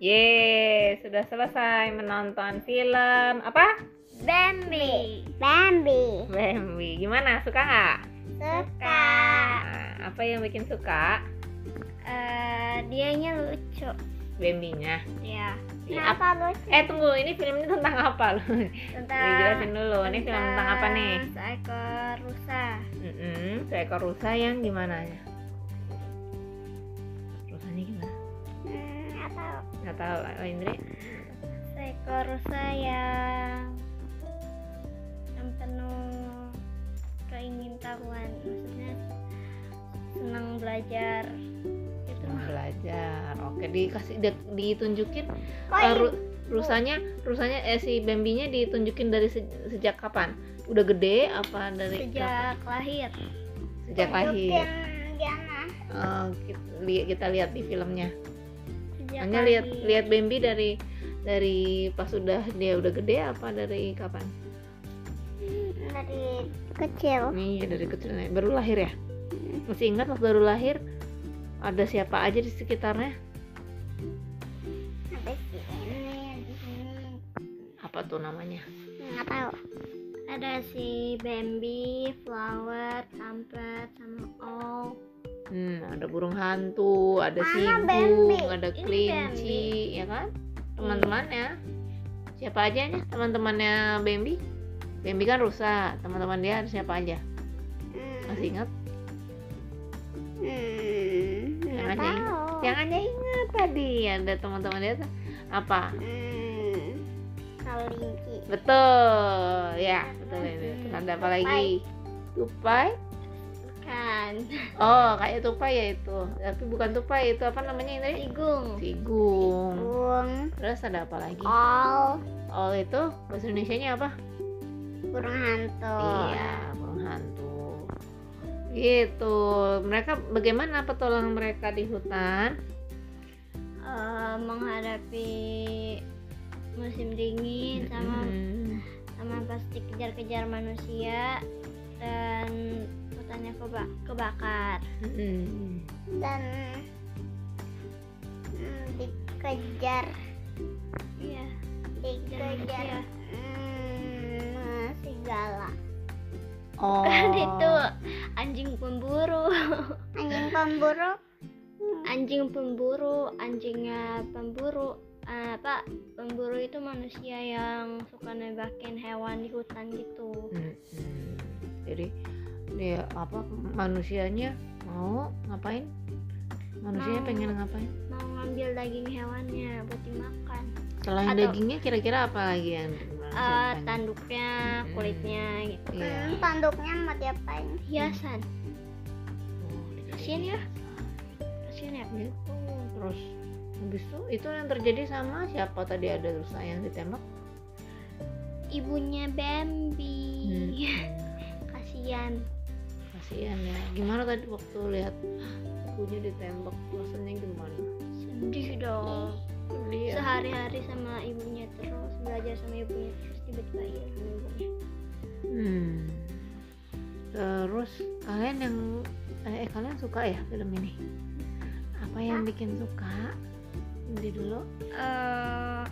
Yeay, sudah selesai menonton film apa? Bambi. Bambi. Bambi. Gimana? Suka nggak? Suka. Nah, apa yang bikin suka? Eh, dianya lucu. Bambinya. Ya. Iya, Kenapa lucu? Eh tunggu, ini film ini tentang apa lu? Dijelasin dulu. Ini film tentang apa nih? Seekor rusa. Mm-mm, seekor rusa yang gimana? ya? Rusanya gimana? Hmm, atau Nggak tahu, oh, Indri. seekor rusa yang yang penuh keingintahuan maksudnya senang belajar gitu Senang belajar. Oke, dikasih di- ditunjukin eh, Kok ini- ru- rusanya, rusanya eh si Bambinya ditunjukin dari se- sejak kapan? Udah gede apa dari sejak lahir kapan? sejak lahir? Diana Eh, kita, li- kita lihat di filmnya. sejak Hanya lihat lihat Bambi dari dari pas udah dia udah gede apa dari kapan? dari kecil Iya dari kecil naik. baru lahir ya. Masih ingat waktu baru lahir ada siapa aja di sekitarnya? sampai sini di sini Apa tuh namanya? nggak tahu ada si Bambi, Flower, Trumpet, sama Owl Hmm, ada burung hantu, ada Nah. Mana sibung, Bambi? ada Ini kelinci, ya kan? Teman-temannya. Siapa aja nih teman-temannya Bambi? Bambi kan rusa, teman-teman dia ada siapa aja? Masih ingat? Hmm, Yang nggak aja ingat. tahu. Yang hanya ingat tadi ada teman-teman dia tuh. apa? Hmm, kelinci. Betul, ya betul ini. Hmm, Terus ada apa lagi? Tupai? Kan. Oh, kayak tupai ya itu. Tapi bukan tupai itu apa namanya ini? Tigung. Tigung. Burung. Terus ada apa lagi? Oh. All. All itu bahasa Indonesia-nya apa? Burung hantu. Iya, burung hantu. Gitu. Mereka bagaimana petualangan mereka di hutan? Eh, menghadapi musim dingin sama Mm-mm. sama pasti kejar-kejar manusia dan hutannya keba- kebakar Mm-mm. dan hmm, dikejar iya dikejar Hmm, segala Oh. kan itu anjing pemburu anjing pemburu anjing pemburu anjingnya pemburu Eh, apa pemburu itu manusia yang suka nembakin hewan di hutan gitu Mm-mm. Jadi dia apa manusianya mau ngapain? Manusianya Mau. pengen ngapain? mau ngambil daging hewannya buat dimakan Selain Atau- dagingnya kira-kira apa lagi yang Eh, manusia pengen? tanduknya Mm-mm. kulitnya gitu Iya. hmm, tanduknya mau diapain hiasan Oh, dikasih Kasian ya. hiasan. kasian ya gitu terus habis itu itu yang terjadi sama siapa tadi ada rusa yang ditembak ibunya Bambi hmm. kasian kasihan ya gimana tadi waktu lihat ibunya ditembak rasanya gimana sedih dong dia Iya. sehari-hari sama Iya, ibunya terus belajar sama ibunya terus tiba-tiba hilang ibunya hmm. terus kalian yang eh, eh, kalian suka ya film ini apa yang bikin suka Nanti dulu Eh,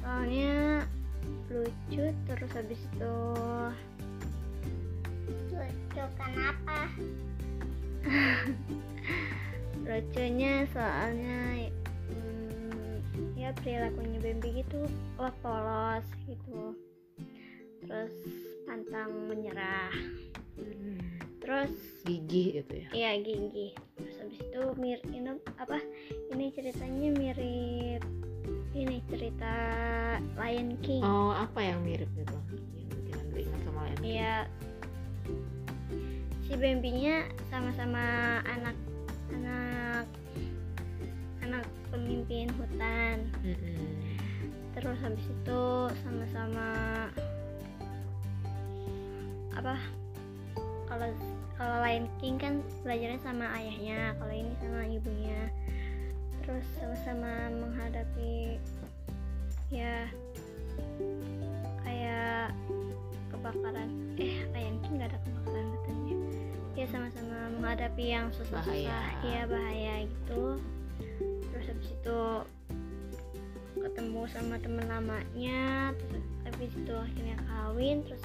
soalnya lucu terus habis itu lucu kenapa lucunya soalnya hmm, ya perilakunya Bambi gitu wah polos gitu terus pantang menyerah Hmm, terus gigih gitu ya Iya gigi. Terus habis itu mir ini apa? Ini ceritanya mirip ini cerita Lion King. oh apa yang mirip itu yang bikin Andri ingat sama lain Iya. Si Bambinya sama-sama anak anak anak pemimpin hutan. Mm-mm. Terus habis itu sama-sama apa? Kalau kalau Lion King kan belajarnya sama ayahnya, kalau ini sama ibunya. Terus sama-sama menghadapi ya kayak kebakaran. Eh, Lion King nggak ada kebakaran katanya. Ya sama-sama menghadapi yang susah-susah, Bahaya. ya bahaya gitu. Terus habis habis itu ketemu sama temen lamanya terus habis itu akhirnya kawin terus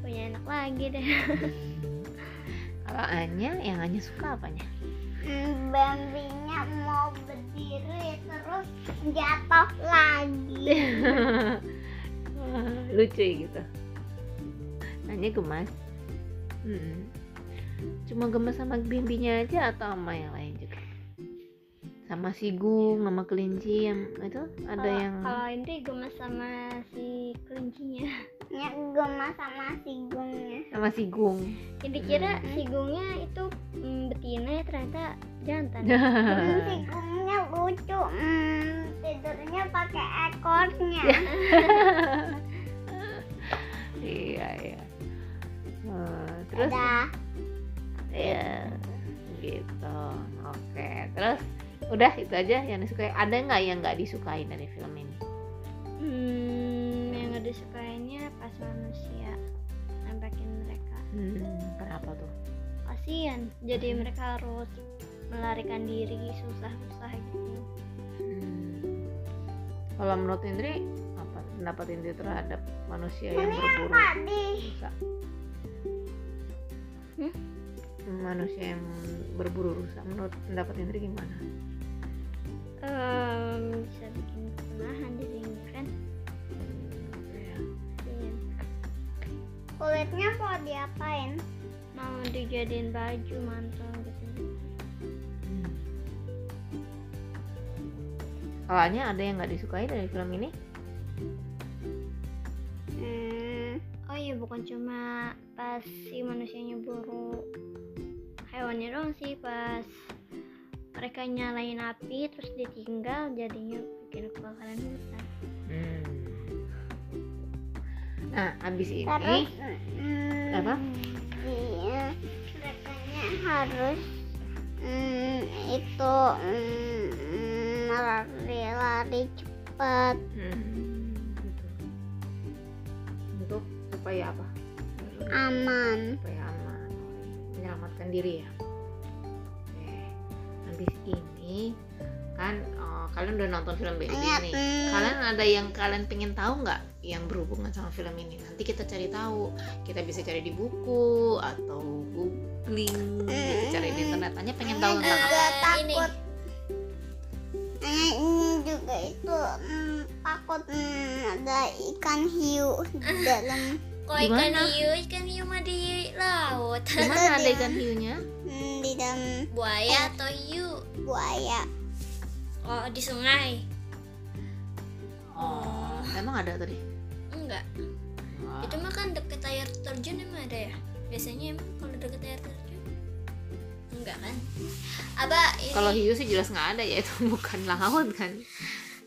punya anak lagi deh Kalau Anya, yang Anya suka apanya? Hmm, Bambinya mau berdiri terus jatuh lagi. Wah, Lucu ya gitu. Anya gemas. Mm-mm. Cuma gemas sama bimbinya aja atau sama yang lain juga? Sama sigung, sama kelinci yang itu ada Kalau- yang kalau Indri gemes sama si kelincinya Ya gemas sama si gungnya. sama sigung. jadi kira si gungnya itu mm, betina ya ternyata jantan Hmm, si gungnya lucu. Hmm, tidurnya pakai ekornya. Ya, iya iya. Eh, terus Udah. Iya, gitu. Oke, terus udah itu aja yang disukai. Ada nggak yang nggak disukai dari film ini? hmm, yang gak disukainnya pas manusia nampakin mereka Hmm, kenapa tuh? kasihan jadi mereka harus melarikan diri susah-susah gitu Hmm. Kalau menurut Indri, apa pendapat Indri terhadap manusia yang Ini berburu apa di? rusa? Hmm? Manusia yang berburu rusa, menurut pendapat Indri gimana? Em, Ehm, bisa bikin kepunahan dirinya kan Iya. Kasihan. Kulitnya mau diapain? mau dijadiin baju mantel gitu Hmm. Kalau Anya, ada yang nggak disukai dari film ini? Hmm, oh iya bukan cuma pas si manusianya buru hewannya doang sih pas mereka nyalain api terus ditinggal jadinya bikin kebakaran hutan Hmm. Nah, abis ini terus hmm, eh? apa? Iya, merekanya harus mm, itu mm, mm, lari-lari cepat Hmm, gitu. Hmm. Untuk supaya apa? aman. Supaya aman, menyelamatkan diri ya. Oke. Habis ini kan eh, kalian udah nonton film Bambi Iya, nih. hmm. Kalian ada yang kalian pengen tahu nggak yang berhubungan sama film ini? Nanti kita cari tahu. Kita bisa cari di buku atau googling, gitu, cari di internet. Tanya pengen tahu tentang apa? Juga ini. takut. Eh, ini juga itu mm, takut mm, ada ikan hiu di dalam. kok Di ikan mana? hiu ikan kan hiu mah di laut Di mana ada ikan hiunya? mm, di dalam buaya atau hiu buaya. oh di sungai Oh, emang ada tadi? enggak Ah. itu mah kan deket air terjun emang ada ya biasanya emang kalau deket air terjun enggak kan apa ini ah, Kalau hiu sih jelas nggak ada ya itu bukan laut kan.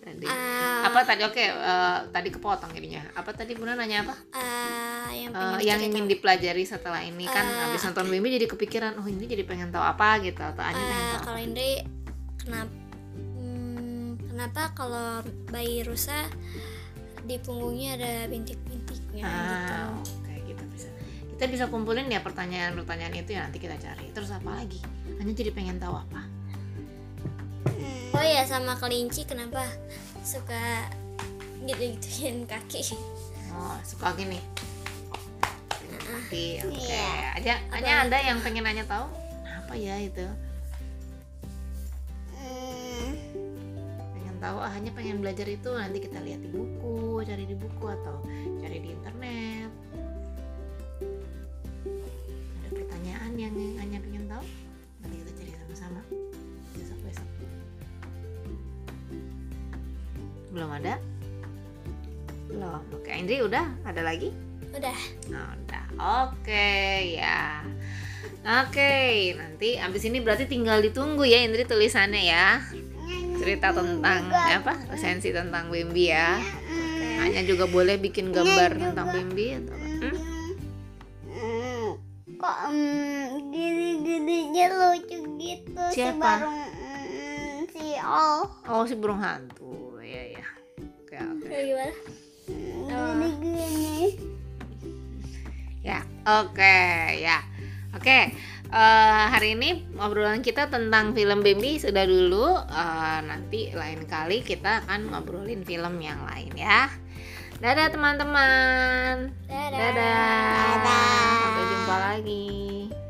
Tadi. Ah, Apa tadi oke eh, tadi kepotong jadinya. Apa tadi Bunda nanya apa? ah, Eh, yang pengen yang diceritain. ingin dipelajari setelah ini kan Eh, habis nonton Mimi jadi kepikiran oh ini jadi pengen tahu apa gitu atau Ani pengen Ah, tahu. kalau Indri kenapa kenapa kalau bayi rusa di punggungnya ada bintik-bintiknya gitu Ah, oke gitu bisa. Kita bisa kumpulin ya pertanyaan-pertanyaan itu ya nanti kita cari. Terus apa lagi? Hanya jadi pengen tahu apa? Mm, oh ya sama kelinci kenapa suka gitu-gituin kaki Oh, suka gini. Tapi oke. Iya. Aja, hanya Apalagi? ada yang pengen nanya tahu apa ya itu? mm. pengen tahu ah, hanya pengen belajar itu nanti kita lihat di buku cari di buku atau cari di internet ada pertanyaan yang hanya pengen tahu nanti kita cari sama-sama besok besok belum ada belum oke Indri udah ada lagi udah Nah, udah oke ya oke nanti abis ini berarti tinggal ditunggu ya Indri tulisannya ya cerita tentang Juga. hmm, apa resensi tentang Bimbi ya Mm, hanya juga boleh bikin gambar Iya, tentang juga. Bimbi atau apa? Hmm? Hmm, kok mm, gini-gininya lucu gitu si Siapa? barung mm, si Ol oh si burung hantu ya ya oke oke Kayak gimana Mm, gini-gini ya oke ya oke Oke, eh, hari ini obrolan kita tentang film Bambi sudah dulu. Eh, nanti lain kali kita akan ngobrolin film yang lain ya. Dadah teman-teman. Dadah. Dadah. Sampai jumpa lagi.